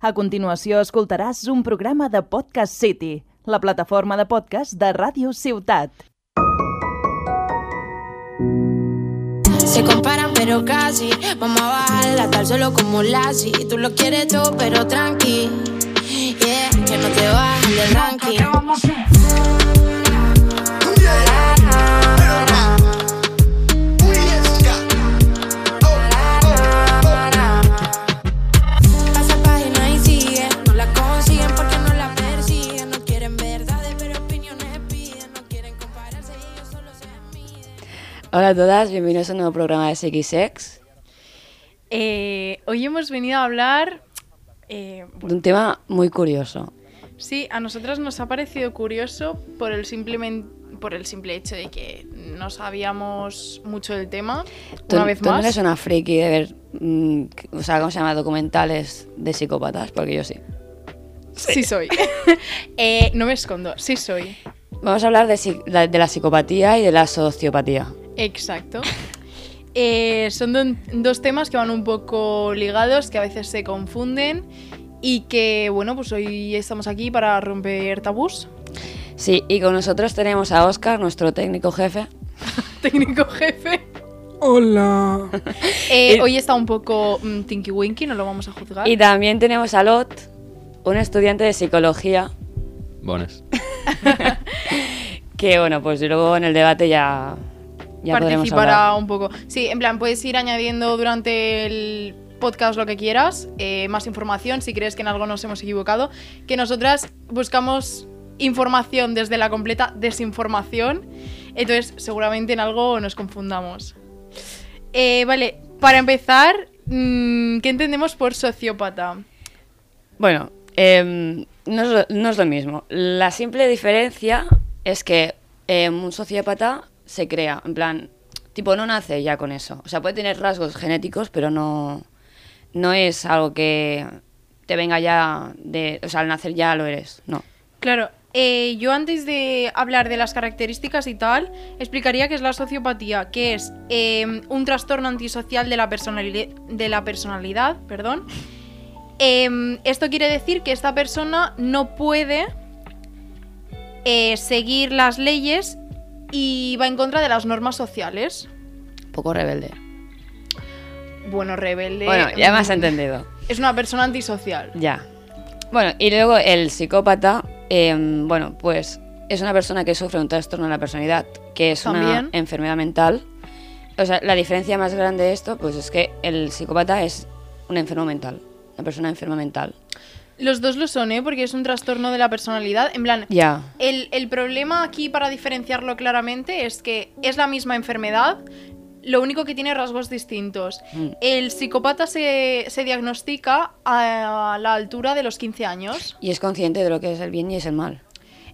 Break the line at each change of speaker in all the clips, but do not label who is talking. A continuació escoltaràs un programa de Podcast City, la plataforma de podcast de Ràdio Ciutat.
Se comparan pero casi Vamos a bajarla tal solo como Lassie Tú lo quieres todo pero tranqui Yeah, que no te bajen del ranking Pasa página y sigue No la consiguen porque no la persiguen No quieren verdades pero opiniones piden No quieren compararse y ellos solo se miden
Hola a todas, bienvenidos a un nuevo programa de SXX,
Eh, hoy hemos venido a hablar. eh,
de un tema muy curioso.
sí, a nosotras nos ha parecido curioso por el, simplemen- por el simple hecho de que no sabíamos mucho del tema.
Tú,
una vez
tú no
más.
eres una friki de ver, mm, o sea, ¿cómo se llama? Documentales de psicópatas, porque yo sí.
Sí, soy. Eh, no me escondo, sí soy.
Vamos a hablar de, psi- la- de la psicopatía y de la sociopatía.
Exacto. Eh, son don- dos temas que van un poco ligados, que a veces se confunden. Y que, bueno, pues hoy estamos aquí para romper tabús.
Sí, y con nosotros tenemos a Oscar, nuestro técnico jefe.
Técnico jefe.
Hola.
Eh,
Y-
hoy está un poco mm, Tinky Winky, no lo vamos a juzgar.
Y también tenemos a Lot, un estudiante de psicología,
Bones.
que bueno, pues luego en el debate ya, ya podremos
participará
hablar.
un poco. Sí, en plan, puedes ir añadiendo durante el podcast lo que quieras, eh, más información si crees que en algo nos hemos equivocado, que nosotras buscamos información desde la completa desinformación, entonces seguramente en algo nos confundamos. Eh, vale, para empezar, mm, ¿qué entendemos por sociópata?
Bueno, em, no, es lo, no es lo mismo. La simple diferencia es que em, un sociópata se crea, en plan, tipo, no nace ya con eso. O sea, puede tener rasgos genéticos, pero no, no es algo que te venga ya de... O sea, al nacer ya lo eres, no.
Claro, eh, yo antes de hablar de las características y tal, explicaría qué es la sociopatía, que es eh, un trastorno antisocial de la, personali- de la personalidad. Perdón. Eh, esto quiere decir que esta persona no puede eh, seguir las leyes y va en contra de las normas sociales.
Un poco rebelde.
Bueno, rebelde.
bueno, ya me has
mm,
entendido.
Es una persona antisocial.
Ya. Bueno, y luego el psicópata, em, bueno, pues es una persona que sufre un trastorno de la personalidad, que es
También.
una enfermedad mental. O sea, la diferencia más grande de esto, pues es que el psicópata es un enfermo mental, una persona enferma mental.
Los dos lo son, ¿eh? Porque es un trastorno de la personalidad. En plan,
Ya.
El, el problema aquí, para diferenciarlo claramente, es que es la misma enfermedad, lo único que tiene rasgos distintos.
Mm.
El psicópata se, se diagnostica a la altura de los 15 años.
Y es consciente de lo que es el bien y es el mal.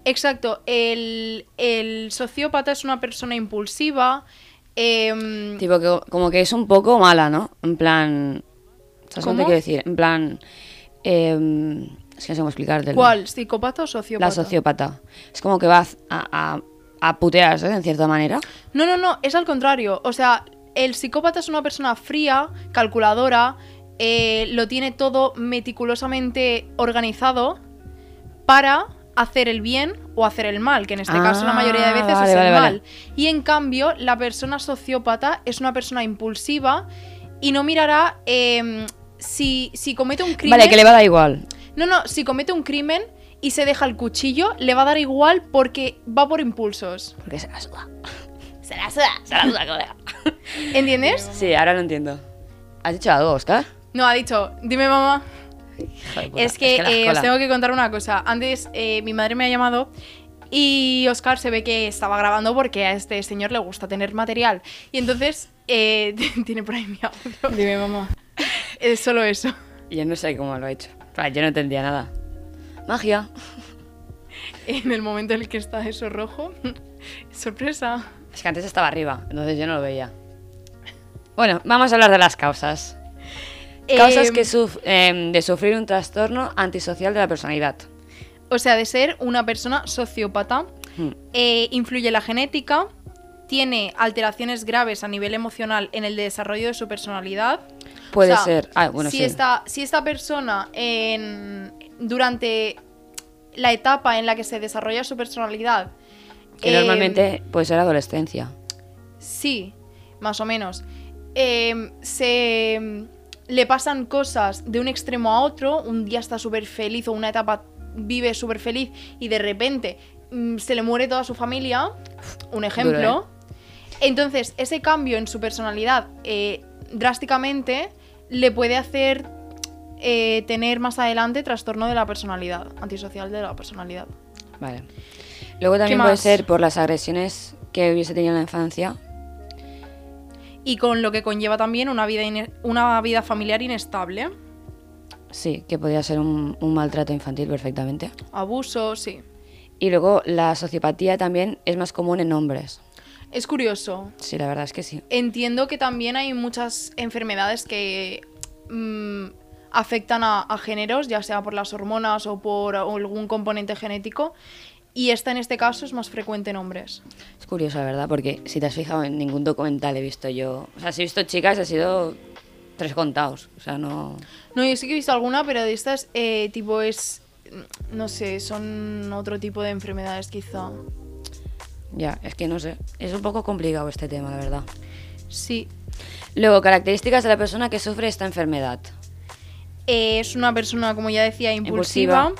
Exacto, el, el sociópata es una persona impulsiva. em,
Tipo que como que es un poco mala, ¿no? En plan... ¿Sabes lo que
¿Cómo?
te quiero decir? En plan... em, es que no sé cómo explicártelo.
¿Cuál? ¿Psicópata o sociópata?
La sociópata. Es como que va a, a, a putearse, en cierta manera.
No, no, no, es al contrario. O sea, el psicópata es una persona fría, calculadora, eh, lo tiene todo meticulosamente organizado para hacer el bien o hacer el mal, que en este caso la mayoría de veces
Ah, vale,
es el
vale, vale.
mal. Y en cambio, la persona sociópata es una persona impulsiva y no mirará em, si, si comete un crimen.
Vale, que le va a dar igual.
No, no, si comete un crimen y se deja el cuchillo, le va a dar igual porque va por impulsos.
Porque se la suda.
Se la suda, se la suda, colega. ¿Entiendes?
Sí, ahora lo entiendo. ¿Has dicho algo, Oscar?
No, ha dicho, dime mamá.
Joder, puta,
Es que,
la
eh, os
escuela.
tengo que contar una cosa. Antes eh, mi madre me ha llamado y Oscar se ve que estaba grabando porque a este señor le gusta tener material. Y entonces eh, tiene por ahí mi audio. Dime mamá. Es solo eso.
Yo no sé cómo lo ha hecho. Claro, yo no entendía nada. Magia.
En el momento en el que está eso rojo. Sorpresa.
Es que antes estaba arriba, entonces yo no lo veía. Bueno, vamos a hablar de las causas. Causas
Em,
que suf- em, de sufrir un trastorno antisocial de la personalidad.
O sea, de ser una persona sociópata.
Hmm.
eh, influye la genética, tiene alteraciones graves a nivel emocional en el desarrollo de su personalidad.
Puede
O sea,
ser. Ah, bueno,
si
sí.
Esta, si esta persona en, durante la etapa en la que se desarrolla su personalidad...
Que
eh,
normalmente puede ser adolescencia.
Sí, más o menos. Em, se em, le pasan cosas de un extremo a otro, un día está súper feliz o una etapa vive súper feliz y de repente mm, se le muere toda su familia, un ejemplo. Entonces, ese cambio en su personalidad eh, drásticamente le puede hacer eh, tener más adelante trastorno de la personalidad, antisocial de la personalidad.
Vale. Luego también
¿Qué
puede
más?
ser por las agresiones que hubiese tenido en la infancia.
Y con lo que conlleva también una vida, ine- una vida familiar inestable.
Sí, que podría ser un, un maltrato infantil perfectamente.
Abuso, sí.
Y luego la sociopatía también es más común en hombres.
Es curioso.
Sí, la verdad es que sí.
Entiendo que también hay muchas enfermedades que mm, afectan a, a géneros, ya sea por las hormonas o por algún componente genético. Y esta en este caso es más frecuente en hombres.
Es curioso, la verdad, porque si te has fijado en ningún documental he visto yo. O sea, si he visto chicas, he sido tres contados. O sea, no.
No, yo sí que he visto alguna, pero de estas, eh, tipo, es. mm, No sé, son otro tipo de enfermedades quizá.
Ya, es que no sé. Es un poco complicado este tema, la verdad.
Sí.
Luego, características de la persona que sufre esta enfermedad.
Eh, es una persona, como ya decía, impulsiva.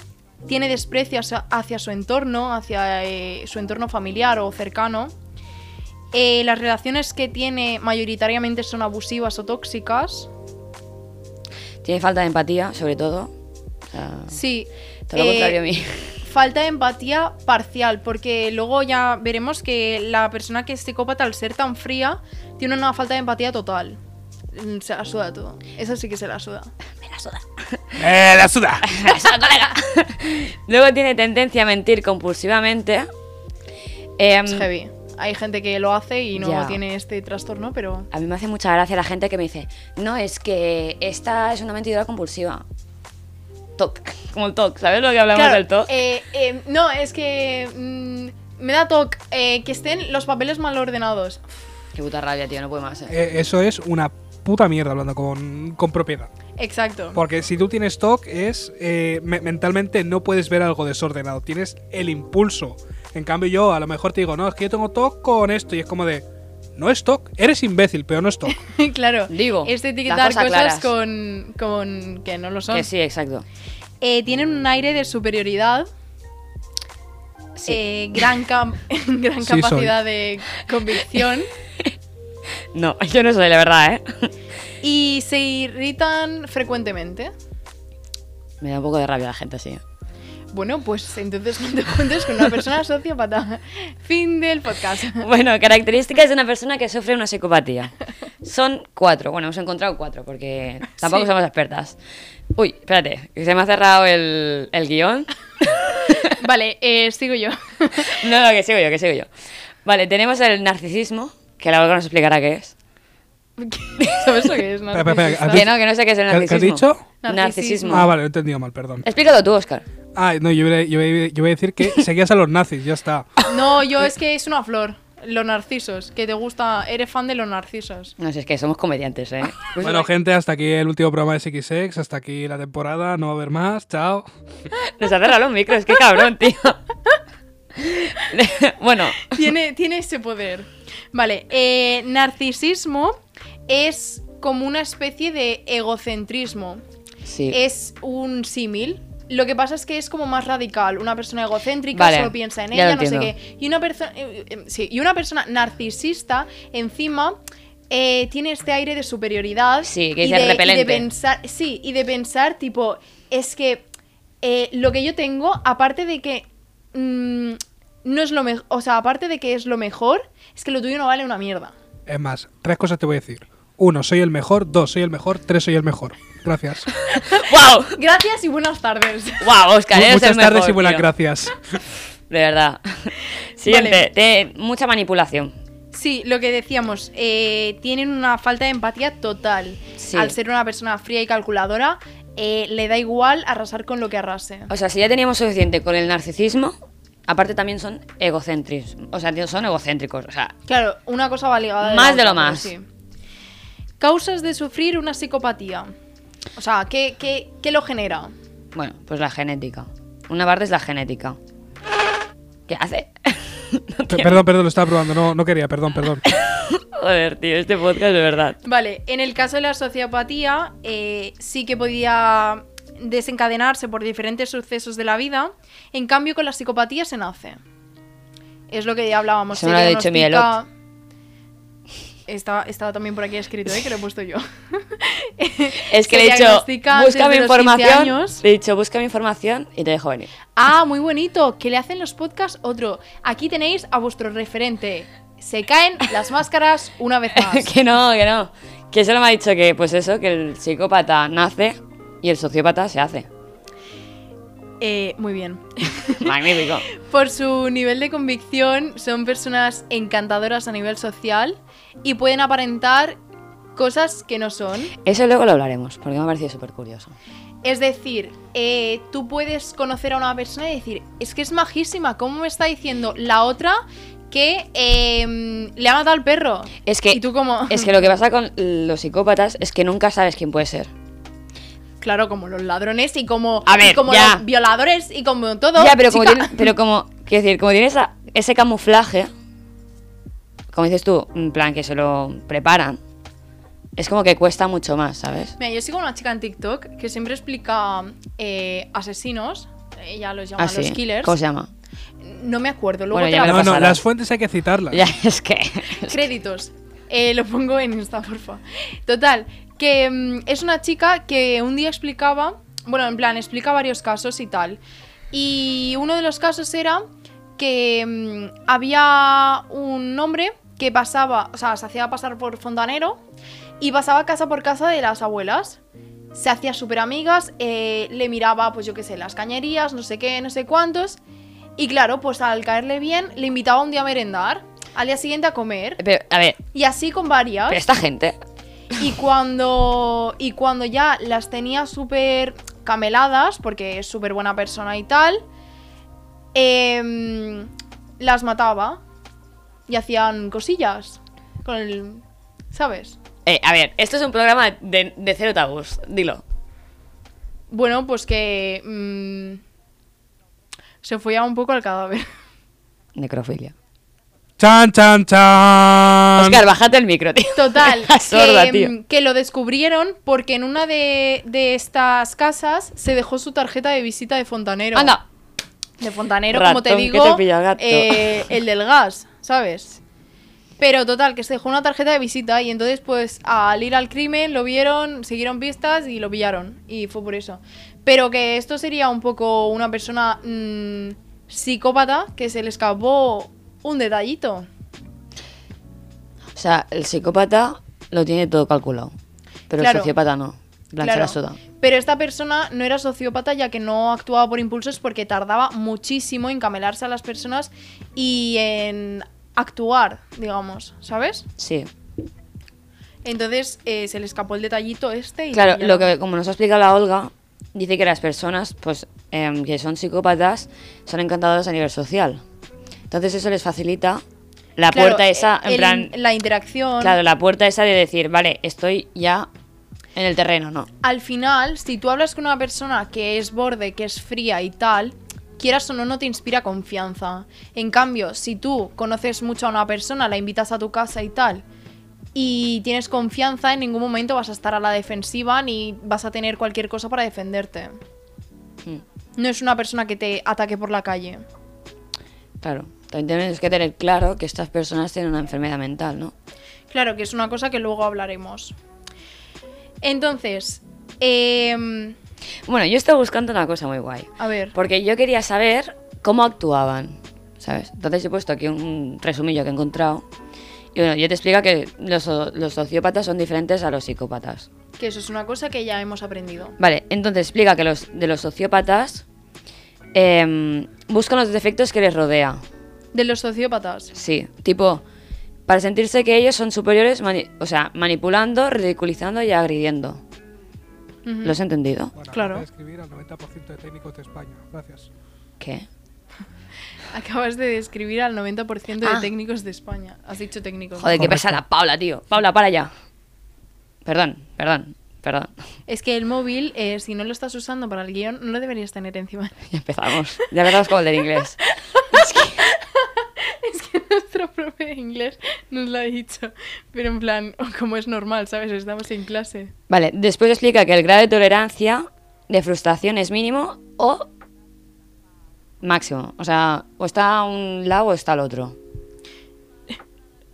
Tiene desprecio hacia, hacia su entorno, hacia eh, su entorno familiar o cercano. Eh, las relaciones que tiene mayoritariamente son abusivas o tóxicas.
Tiene falta de empatía, sobre todo. O sea,
Sí.
todo lo
eh,
contrario a mí.
Falta de empatía parcial, porque luego ya veremos que la persona que es psicópata, al ser tan fría, tiene una falta de empatía total. Mm, Se la suda todo. Eso sí que se la suda.
¡Eh, la suda!
Luego tiene tendencia a mentir compulsivamente. Em,
Es heavy. Hay gente que lo hace y no
Ya.
tiene este trastorno, pero
a mí me hace mucha gracia la gente que me dice, no, es que esta es una mentidora compulsiva. TOC, como el TOC, ¿sabes lo que hablamos
Claro,
del TOC?
eh, eh, no, es que mm, me da toque eh, que estén los papeles mal ordenados.
Qué puta rabia, tío, no puedo más. eh.
Eh, eso es una puta mierda hablando con, con propiedad.
Exacto.
Porque si tú tienes TOC es eh, me- mentalmente no puedes ver algo desordenado, tienes el impulso. En cambio yo a lo mejor te digo, no, es que yo tengo TOC con esto y es como de, no es TOC, eres imbécil, pero no es TOC.
claro. Este
Digo,
Es de
las
etiquetar
cosas
cosas
claras.
con, con que no lo son.
Que sí, exacto.
Eh, tienen un aire de superioridad.
Sí.
eh, gran cam- gran
Sí, soy.
capacidad de convicción.
No, yo no soy, la verdad, ¿eh?
y se irritan frecuentemente.
Me da un poco de rabia la gente así.
Bueno, pues entonces no te juntes con una persona sociópata. Fin del podcast.
Bueno, características de una persona que sufre una psicopatía. Son cuatro. Bueno, hemos encontrado cuatro porque tampoco
Sí.
somos expertas. Uy, espérate, que se me ha cerrado el, el guión.
Vale, eh, sigo yo.
No, no, que sigo yo, que sigo yo. Vale, tenemos el narcisismo, que la Olga nos explicará qué es.
¿Sabes lo que es?
Espera, espera,
narcisista?
espera, ¿has
Que
dicho-
no, que no sé qué es el
¿Qué- qué has
narcisismo.
dicho?
Narcisismo.
Ah, vale, lo he entendido mal, perdón.
Explícalo tú, Oscar.
Ah, no, yo iba, a- yo iba a- yo iba a decir que seguías a los nazis, ya está.
No, yo es que es una flor. Los narcisos. Que te gusta. Eres fan de los narcisos.
No, si es que somos comediantes, ¿eh?
Bueno, gente, hasta aquí el último programa de XXX, hasta aquí la temporada, no va a haber más, chao.
Nos ha cerrado los micros, qué cabrón, tío. bueno,
Tiene, tiene ese poder. Vale, eh, narcisismo es como una especie de egocentrismo.
sí.
Es un símil. Lo que pasa es que es como más radical. Una persona egocéntrica
Vale,
solo piensa en
ya lo
ella, no sé
entiendo.
qué. Y una, persona em, sí, y una persona narcisista, encima, eh, tiene este aire de superioridad.
Sí, que
y
es
de, y de
repelente.
pensar, sí, y de pensar, tipo, es que eh, lo que yo tengo, aparte de que. mm, no es lo mejor. O sea, aparte de que es lo mejor, es que lo tuyo no vale una mierda.
Es más, tres cosas te voy a decir. Uno, soy el mejor, dos, soy el mejor, tres, soy el mejor. Gracias.
¡Wow!
Gracias y buenas tardes.
¡Wow, Oscar! eres el
Muchas tardes
mejor,
y buenas
tío.
gracias.
De verdad. Siguiente. te- mucha manipulación.
Sí, lo que decíamos, eh, tienen una falta de empatía total.
Sí.
Al ser una persona fría y calculadora, eh, le da igual arrasar con lo que arrase.
O sea, si ya teníamos suficiente con el narcisismo, aparte también son egocéntricos. O sea, tío, son egocéntricos. O sea,
Claro, una cosa va ligada. a la
Más de
otra,
lo
pero
más.
sí. Causas de sufrir una psicopatía. O sea, ¿qué, qué, qué lo genera?
bueno, pues la genética. Una parte es la genética. ¿Qué hace?
Pe- Perdón, perdón, lo estaba probando. No, no quería, perdón, perdón.
Joder, tío, este podcast de verdad.
Vale, en el caso de la sociopatía, eh, sí que podía desencadenarse por diferentes sucesos de la vida. En cambio, con la psicopatía se nace. Es lo que ya hablábamos.
Eso me lo ha dicho
diagnostica-
Mielot.
Estaba, estaba también por aquí escrito, ¿eh? que lo he puesto yo.
Es que
Se
le he dicho,
diagnostica antes
busca mi
de los 15
información.
años.
Le he dicho, busca mi información y te dejo venir.
Ah, muy bonito. Que le hacen los podcasts otro. Aquí tenéis a vuestro referente. Se caen las máscaras una vez más.
que no, que no. Que solo me ha dicho que, pues eso, que el psicópata nace y el sociópata se hace.
Eh, muy bien.
Magnífico.
Por su nivel de convicción, son personas encantadoras a nivel social y pueden aparentar cosas que no son.
Eso luego lo hablaremos, porque me ha parecido súper curioso.
Es decir, eh, tú puedes conocer a una persona y decir, es que es majísima, ¿cómo me está diciendo la otra que em, le ha matado al perro?
Es que,
Y tú como...
es que lo que pasa con los psicópatas es que nunca sabes quién puede ser.
Claro, como los ladrones y como,
A ver,
y como
ya.
los violadores y como todo.
ya, pero como,
chica.
tiene, pero como, quiero decir, como tiene esa- ese camuflaje, como dices tú, en plan que se lo preparan, es como que cuesta mucho más, ¿sabes?
Mira, yo sigo una chica en TikTok que siempre explica eh, asesinos, ella los llama
Así.
los killers.
Ah, ¿Cómo se llama?
No me acuerdo, luego
Bueno,
te
ya
la
me lo
No, no,
pasarás.
las fuentes hay que citarlas.
Ya, es que.
Créditos. Eh, lo pongo en Insta, porfa. Total, que mm, es una chica que un día explicaba, bueno, en plan, explica varios casos y tal. Y uno de los casos era que mm, había un hombre que pasaba, o sea, se hacía pasar por fontanero y pasaba casa por casa de las abuelas. Se hacía súper amigas, eh, le miraba, pues yo qué sé, las cañerías, no sé qué, no sé cuántos. Y claro, pues al caerle bien, le invitaba un día a merendar, al día siguiente a comer.
Pero, a ver,
Y así con varias.
pero esta gente.
Y cuando, y cuando ya las tenía súper cameladas, porque es súper buena persona y tal, em, las mataba y hacían cosillas con el... ¿Sabes?
Eh, a ver, esto es un programa de, de cero tabús, dilo.
Bueno, pues que... mm, se follaba un poco al cadáver.
Necrofilia.
Chan, chan, chan.
Oscar, bájate el micro, tío.
Total,
Estás sorda,
que, mm,
tío.
que lo descubrieron porque en una de, de estas casas se dejó su tarjeta de visita de fontanero.
Anda.
de fontanero, como te
Ratón que
digo,
te pilla el gato.
eh, el del gas, ¿sabes? Pero total, que se dejó una tarjeta de visita y entonces pues al ir al crimen lo vieron, siguieron pistas y lo pillaron. Y fue por eso. Pero que esto sería un poco una persona mm, psicópata que se le escapó un detallito.
O sea, el psicópata lo tiene todo calculado. Pero
Claro.
el sociópata no. Plan, se
Claro.
la suda.
Pero esta persona no era sociópata ya que no actuaba por impulsos porque tardaba muchísimo en camelarse a las personas y en actuar, digamos, ¿sabes?
Sí.
Entonces eh, se le escapó el detallito este y...
Claro,
ya.
lo que, como nos ha explicado la Olga, dice que las personas pues, em, que son psicópatas son encantadoras a nivel social. Entonces eso les facilita la
Claro, eh,
puerta esa, en
el-
plan...
La interacción...
Claro, la puerta esa de decir, vale, estoy ya en el terreno, ¿no?
Al final, si tú hablas con una persona que es borde, que es fría y tal, quieras o no, no te inspira confianza. En cambio, si tú conoces mucho a una persona, la invitas a tu casa y tal, y tienes confianza, en ningún momento vas a estar a la defensiva ni vas a tener cualquier cosa para defenderte.
Mm,
No es una persona que te ataque por la calle.
Claro. También tienes que tener claro que estas personas tienen una enfermedad mental, ¿no?
Claro, que es una cosa que luego hablaremos. Entonces, em,
Bueno, yo estaba buscando una cosa muy guay.
a ver.
Porque yo quería saber cómo actuaban, ¿sabes? Entonces he puesto aquí un resumillo que he encontrado. Y bueno, yo te explica que los, o- los sociópatas son diferentes a los psicópatas.
Que eso es una cosa que ya hemos aprendido.
Vale, entonces explica que los de los sociópatas em, buscan los defectos que les rodea.
De los sociópatas.
Sí, tipo, para sentirse que ellos son superiores, mani- o sea, manipulando, ridiculizando y agrediendo.
Ujú.
¿Lo has entendido?
Bueno,
Claro.
voy a escribir al 90% de técnicos de España. Gracias.
¿Qué?
Acabas de describir al 90% de
Ah.
técnicos de España. Has dicho técnicos.
Joder, qué
Correcto.
pesada. Paula, tío. Paula, para allá. Perdón, perdón, perdón.
Es que el móvil, eh, si no lo estás usando para el guión, no lo deberías tener encima.
Ya empezamos. Ya empezamos con el del inglés.
es que nuestro profe de inglés nos lo ha dicho. Pero en plan, como es normal, ¿sabes? Estamos en clase.
Vale, después explica que el grado de tolerancia de frustración es mínimo o máximo. O sea, o está a un lado o está al otro.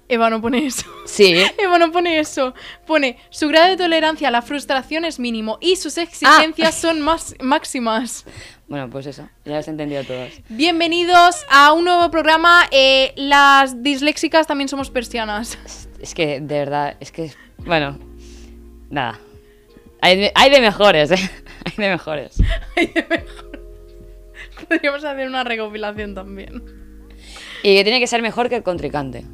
Eva no pone eso.
Sí.
Eva no Eh, pone eso. Pone, su grado de tolerancia a la frustración es mínimo y sus exigencias son más máximas.
Bueno, pues eso. Ya los he entendido todos.
Bienvenidos a un nuevo programa. eh, las disléxicas también somos persianas.
Es- Es que, de verdad, es que. Bueno, nada. Hay de, hay de mejores, ¿eh? Hay de mejores.
Podríamos hacer una recopilación también.
Y que tiene que ser mejor que el contrincante.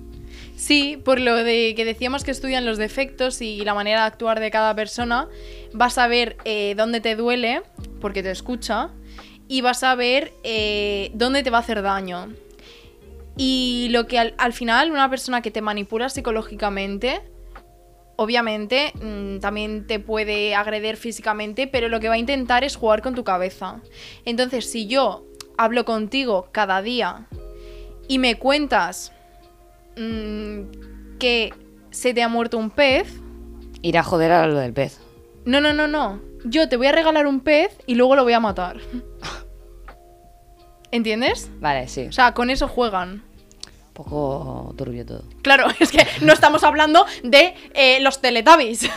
Sí, por lo de que decíamos que estudian los defectos y la manera de actuar de cada persona, vas a ver eh, dónde te duele, porque te escucha, y vas a ver eh, dónde te va a hacer daño. Y lo que al, al final una persona que te manipula psicológicamente, obviamente mm, también te puede agredir físicamente, pero lo que va a intentar es jugar con tu cabeza. Entonces, si yo hablo contigo cada día y me cuentas mm, que se te ha muerto un pez.
Ir a joder a lo del pez.
No, no, no, no. Yo te voy a regalar un pez y luego lo voy a matar. ¿Entiendes?
Vale, sí.
O sea, con eso juegan.
Un poco turbio todo.
Claro, es que no estamos hablando de eh, los Teletubbies.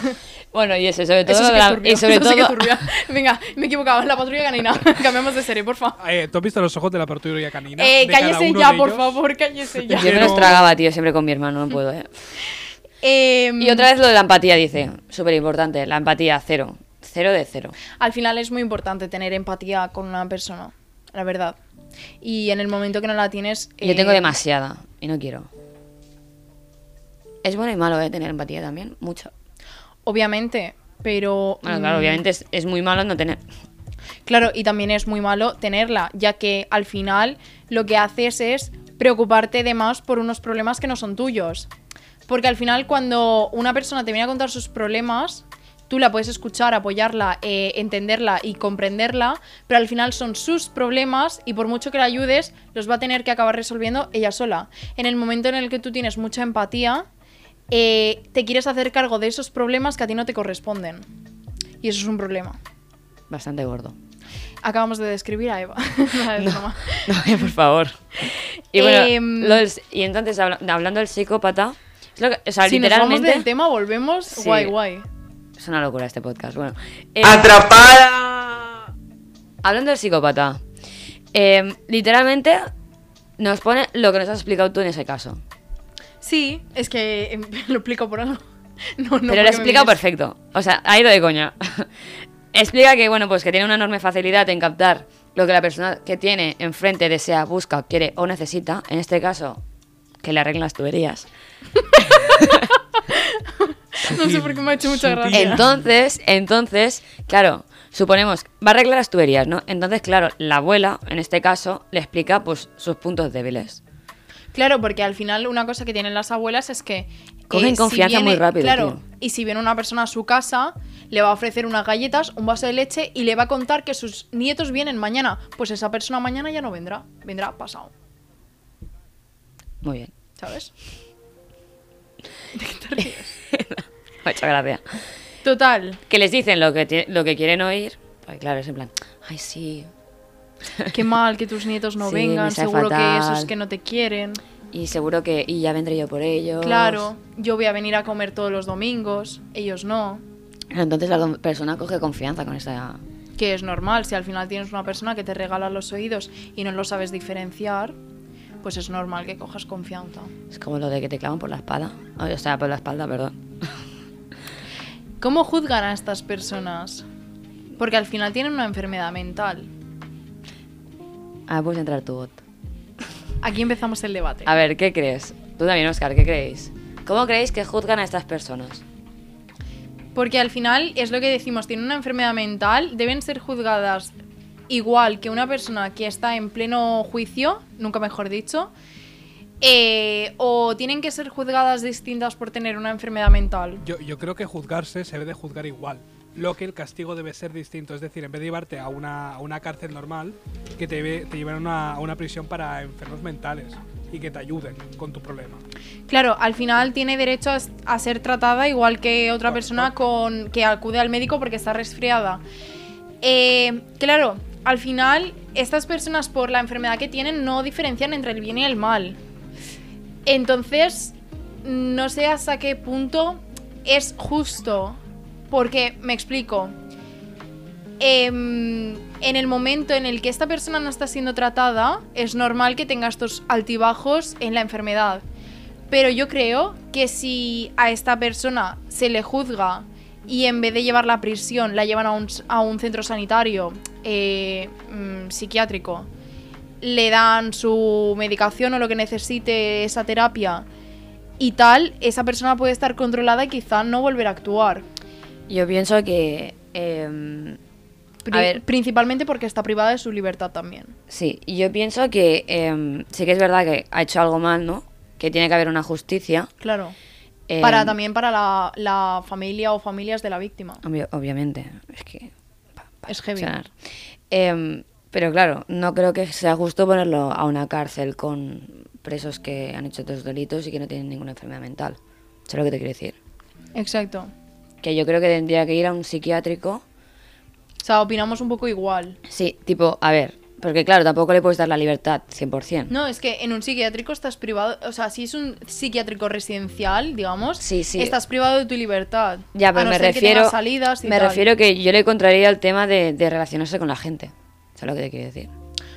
Bueno, y eso, sobre todo.
eso sí que
la-
es turbio.
y sobre
eso sí que es
todo-
turbio. Venga, me he equivocado. La patrulla canina. Cambiamos de serie, por favor.
Eh, ¿Tú has visto los ojos de la apertura canina?
Eh,
De cada
cállese
uno
ya,
de
por
ellos.
favor, cállese ya.
Yo me los tragaba, tío, siempre con mi hermano, no puedo, ¿eh?
Eh,
Y otra vez lo de la empatía, dice. Súper importante, la empatía, cero. Cero de cero.
Al final es muy importante tener empatía con una persona, la verdad. Y en el momento que no la tienes...
Yo
eh,
tengo demasiada y no quiero. Es bueno y malo, ¿eh? Tener empatía también, mucho.
Obviamente, pero...
Bueno,
mm,
claro, obviamente es, es muy malo no tener.
Claro, y también es muy malo tenerla, ya que al final lo que haces es preocuparte de más por unos problemas que no son tuyos. Porque al final cuando una persona te viene a contar sus problemas, tú la puedes escuchar, apoyarla, eh, entenderla y comprenderla, pero al final son sus problemas y por mucho que la ayudes, los va a tener que acabar resolviendo ella sola. En el momento en el que tú tienes mucha empatía, eh, te quieres hacer cargo de esos problemas que a ti no te corresponden. Y eso es un problema.
Bastante gordo.
Acabamos de describir a Eva. Nada, es broma.
No, eh, por favor. Y bueno,
Em,
lo del- y entonces, habla- hablando del psicópata, es lo que- o sea,
si nos vamos
literalmente.
del tema, volvemos.
Sí.
Guay, guay.
Es una locura este podcast. Bueno, eh,
¡Atrapada!
hablando del psicópata, eh, literalmente nos pone lo que nos has explicado tú en ese caso.
Sí, es que em, lo explico por algo. No,
Pero
no porque
lo
me
explica
mires.
perfecto. O sea, ha ido de coña. explica que, bueno, pues que tiene una enorme facilidad en captar lo que la persona que tiene enfrente desea, busca, quiere o necesita. En este caso, que le arreglen las tuberías.
No sé por qué me ha hecho mucha
Sutil.
gracia.
Entonces, entonces, claro, suponemos, va a arreglar las tuberías, ¿no? Entonces, claro, la abuela, en este caso, le explica pues sus puntos débiles.
Claro, porque al final una cosa que tienen las abuelas es que... eh,
Cogen confianza muy rápido,
Claro,
tío.
y si viene una persona a su casa, le va a ofrecer unas galletas, un vaso de leche y le va a contar que sus nietos vienen mañana. Pues esa persona mañana ya no vendrá, vendrá pasado,
Muy bien.
¿sabes?
Muchas gracias.
Total,
Que les dicen lo que, ti- lo que quieren oír. Pues claro, es en plan, ay, sí.
Qué mal que tus nietos no
Sí, me
vengan,
sabe
seguro que
fatal.
esos que no te quieren.
Y seguro que, y ya vendré yo por ellos.
Claro, yo voy a venir a comer todos los domingos, ellos no.
Entonces la con- persona coge confianza con esa...
Que es normal, si al final tienes una persona que te regala los oídos y no lo sabes diferenciar, pues es normal que cojas confianza.
Es como lo de que te clavan por la espada. Ay, O sea, por la espalda, perdón.
¿Cómo juzgan a estas personas? Porque al final tienen una enfermedad mental.
Ah, puedes entrar tu bot.
Aquí empezamos el debate.
A ver, ¿qué crees? Tú también, Oscar, ¿qué creéis? ¿Cómo creéis que juzgan a estas personas?
Porque al final es lo que decimos, tienen una enfermedad mental, deben ser juzgadas igual que una persona que está en pleno juicio, nunca mejor dicho, eh, o tienen que ser juzgadas distintas por tener una enfermedad mental.
Yo, yo creo que juzgarse se debe de juzgar igual. Lo que el castigo debe ser distinto. Es decir, en vez de llevarte a una, a una cárcel normal, que te, lleve- te lleven a una, a una prisión para enfermos mentales y que te ayuden con tu problema.
Claro, al final tiene derecho a, s- a ser tratada igual que otra
Correcto.
persona con, que acude al médico porque está resfriada. Eh, claro, al final estas personas por la enfermedad que tienen no diferencian entre el bien y el mal. Entonces, no sé hasta qué punto es justo, porque me explico. Em, en el momento en el que esta persona no está siendo tratada, es normal que tenga estos altibajos en la enfermedad. Pero yo creo que si a esta persona se le juzga y en vez de llevarla a prisión la llevan a un, s- a un centro sanitario eh, mm, psiquiátrico, le dan su medicación o lo que necesite esa terapia y tal, esa persona puede estar controlada y quizá no volver a actuar.
Yo pienso que. em,
Pri-
ver.
Principalmente porque está privada de su libertad también.
sí, yo pienso que em, sí que es verdad que ha hecho algo mal, ¿no? Que tiene que haber una justicia.
Claro.
em,
para también para la, la familia o familias de la víctima.
obvio- obviamente, es que.
Es heavy.
funcionar. Em, pero claro, no creo que sea justo ponerlo a una cárcel con presos que han hecho otros delitos y que no tienen ninguna enfermedad mental. Eso es lo que te quiero decir.
Exacto.
Que yo creo que tendría que ir a un psiquiátrico.
O sea, opinamos un poco igual.
Sí, tipo, a ver, porque claro, tampoco le puedes dar la libertad 100%.
No, es que en un psiquiátrico estás privado, o sea, si es un psiquiátrico residencial, digamos,
Sí, sí.
estás privado de tu libertad.
Ya,
A
pero
no
me
ser que
refiero.
tengas salidas y
me
tal.
refiero que yo le contraría el tema de, de relacionarse con la gente. Eso es lo que te quiero decir.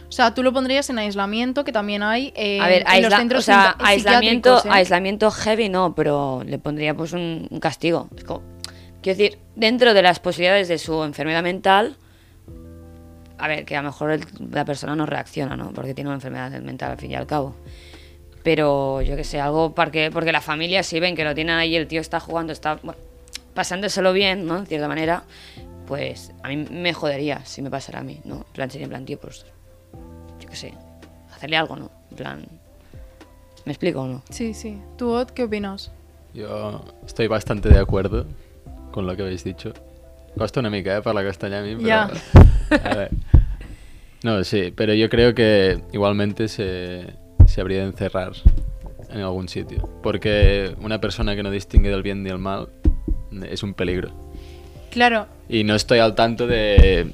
O sea, tú lo pondrías en aislamiento, que también hay eh,
a ver,
en los
aisla-
centros
o sea,
psiqui-
aislamiento,
psiquiátricos, ¿eh?
aislamiento heavy no, pero le pondría pues un, un castigo. Es como- quiero decir, dentro de las posibilidades de su enfermedad mental, a ver, que a lo mejor el- la persona no reacciona, ¿no? Porque tiene una enfermedad mental al fin y al cabo. Pero yo que sé, algo porque, porque la familia sí ven que lo tienen ahí, el tío está jugando, está bueno, pasándoselo bien, ¿no? En cierta manera, pues a mí me jodería si me pasara a mí, ¿no? En plan, sería en plan, tío, pues yo qué sé, hacerle algo, ¿no? En plan, ¿me explico o no?
Sí, sí. ¿Tú, Ot, qué opinas?
Jo estic bastant de acuerdo con lo que habéis dicho. Costa una mica, eh, parlar castellà a mi, però...
Ja.
A ver. No, sí, pero yo creo que igualmente se, se habría de encerrar en algún sitio. Porque una persona que no distingue del bien ni del mal eh, es un peligro.
Claro,
Y no estoy al tanto de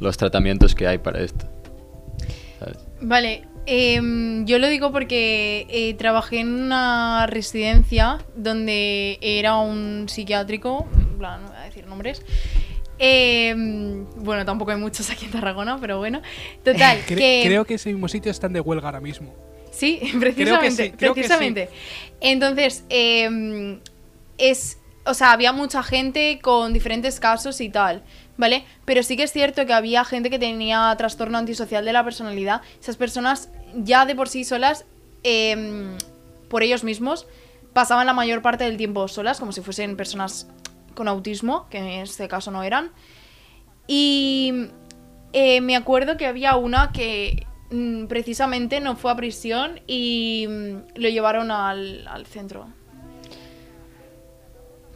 los tratamientos que hay para esto. ¿sabes?
Vale, em, yo lo digo porque eh, trabajé en una residencia donde era un psiquiátrico, en plan, no voy a decir nombres. Em, bueno, tampoco hay muchos aquí en Tarragona, pero bueno. Total,
Cre-
que...
Creo que ese mismo sitio están de huelga ahora mismo.
Sí,
Creo que
precisamente.
sí, creo que sí.
precisamente. Entonces, eh, es. O sea, había mucha gente con diferentes casos y tal, ¿vale? Pero sí que es cierto que había gente que tenía trastorno antisocial de la personalidad. Esas personas ya de por sí solas, eh, por ellos mismos, pasaban la mayor parte del tiempo solas, como si fuesen personas con autismo, que en este caso no eran. Y eh, me acuerdo que había una que mm, precisamente no fue a prisión y mm, lo llevaron al, al centro.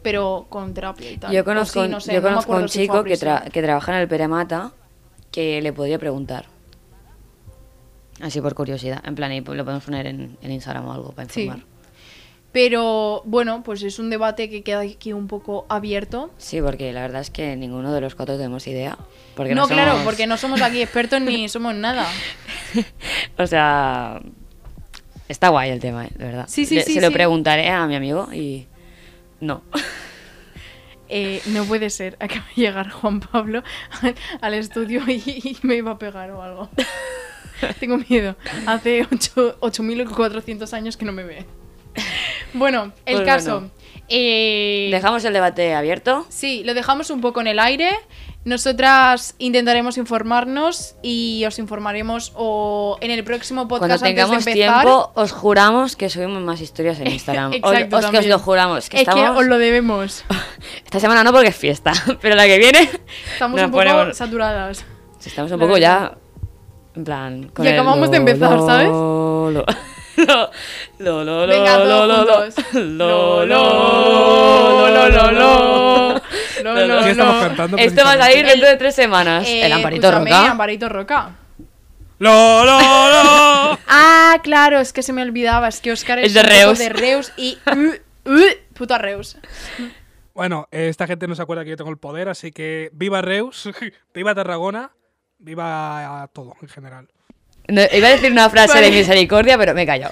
Pero con terapia y tal.
Yo
O
conozco,
sí,
un-
no sé,
yo
no me
conozco
acuerdo
un
si fue a
chico que,
prisión.
tra- que trabaja en el Peremata que le podría preguntar. Así por curiosidad. En plan, y lo podemos poner en, en Instagram o algo para
Sí.
informar.
Pero bueno, pues es un debate que queda aquí un poco abierto.
Sí, porque la verdad es que ninguno de los cuatro tenemos idea. Porque
no,
no,
claro,
somos-
porque no somos aquí expertos ni somos nada.
O sea, está guay el tema, eh, de verdad.
Sí, sí,
Le-
sí,
Se lo
sí.
preguntaré a mi amigo y... No.
Eh, no puede ser, acaba de llegar Juan Pablo al, al estudio y, y me iba a pegar o algo. Tengo miedo. Hace ocho- 8.400 años que no me ve. Bueno, el
Pues
caso.
bueno.
eh,
Dejamos el debate abierto.
Sí, lo dejamos un poco en el aire. Nosotras intentaremos informarnos y os informaremos o en el próximo podcast
Cuando tengamos
antes de empezar.
tiempo, os juramos que subimos más historias en Instagram. Os-
Exacto,
os, que os
también.
lo juramos. Que
es
estamos...
que os lo debemos.
Esta semana no porque es fiesta, pero la que viene
Estamos
nos
un poco
ponemos-
saturadas.
Si estamos un poco ya. En plan.
Y acabamos de empezar, ¿sabes?
Lo, lo, lo, lo, lo,
Venga,
lo,
todos
lo, lo,
juntos.
lo, lo, lo, lo, lo, lo, lo,
Sí, estamos
lo.
cantando
Esto va a
precisamente.
salir dentro de tres semanas.
Eh,
el Amparito
escúchame,
Roca.
Amparito Roca.
¡Lo, lo, lo!
Ah, claro, es que se me olvidaba, es que Oscar es,
Es de
un poco
Reus.
de Reus y... uh, uh, puto Reus.
Bueno, eh, esta gente no se acuerda que yo tengo el poder, así que viva Reus, viva Tarragona, viva a todo en general.
No, iba a decir una frase
Vale.
de misericordia, pero me he callado.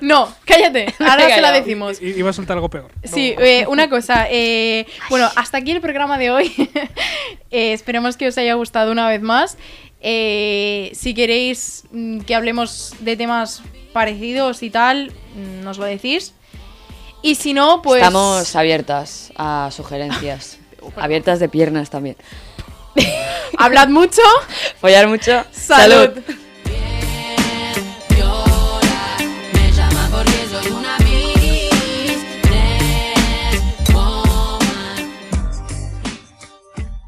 No, cállate, ahora se la decimos.
I- iba a soltar algo peor.
Sí, eh, una cosa. eh, bueno, hasta aquí el programa de hoy. Eh, esperemos que os haya gustado una vez más. Eh, si queréis mm, que hablemos de temas parecidos y tal, mm, nos lo decís. Y si no, pues...
Estamos abiertas a sugerencias. Abiertas de piernas también.
Hablad mucho.
Follar mucho.
Salud.
Llora, me llama porque soy una businesswoman.